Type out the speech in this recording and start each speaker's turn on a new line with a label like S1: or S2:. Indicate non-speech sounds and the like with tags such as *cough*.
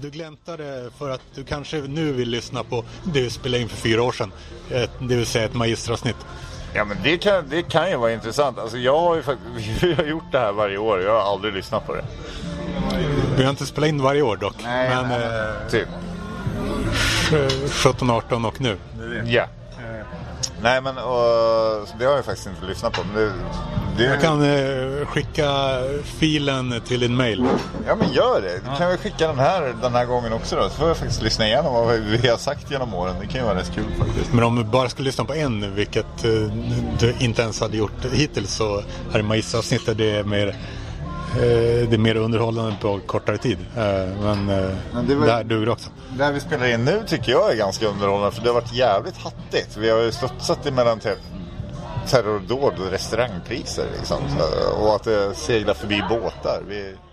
S1: Du gläntade för att du kanske nu vill lyssna på det vi spelade in för fyra år sedan. Ett, det vill säga ett magistrasnitt.
S2: Ja men det kan, det kan ju vara intressant. Alltså jag har ju faktiskt, *laughs* vi har gjort det här varje år och jag har aldrig lyssnat på det.
S1: Vi har inte spelat in varje år dock.
S2: Nej,
S1: men
S2: nej, Typ.
S1: Eh, 17, 18 och nu.
S2: Ja. Nej men och, så det har jag faktiskt inte lyssnat på. Men det, det,
S1: Jag kan eh, skicka filen till din mail.
S2: Ja men gör det. Du kan väl skicka den här den här gången också då. Så får jag faktiskt lyssna igenom vad vi har sagt genom åren. Det kan ju vara rätt kul faktiskt.
S1: Men om du bara skulle lyssna på en, vilket eh, du inte ens hade gjort hittills, så är magisteravsnittet det är mer, eh, det är mer underhållande på kortare tid. Eh, men eh,
S2: Men det var-
S1: det här duger också.
S2: Det här vi spelar in nu tycker jag är ganska underhållande för det har varit jävligt hattigt. Vi har ju studsat emellan typ te- terrordåd och restaurangpriser liksom. Så, och att det seglar förbi båtar. Vi...